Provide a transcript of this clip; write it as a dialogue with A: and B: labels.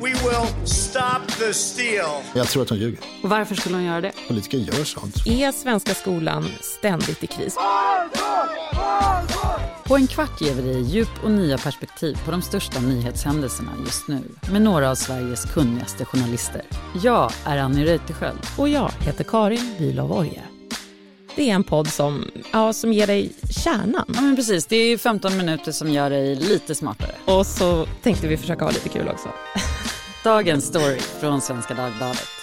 A: will stop the steal.
B: Jag tror att hon ljuger.
C: Och varför skulle hon göra det?
B: Politiker gör sånt.
D: Är svenska skolan ständigt i kris?
E: På en kvart ger vi dig djup och nya perspektiv på de största nyhetshändelserna just nu med några av Sveriges kunnigaste journalister. Jag är Annie Reuterskiöld.
D: Och jag heter Karin Bülow Orje. Det är en podd som, ja, som ger dig kärnan.
E: Ja, men precis. Det är 15 minuter som gör dig lite smartare.
D: Och så tänkte vi försöka ha lite kul också.
E: Dagens story från Svenska Dagbladet.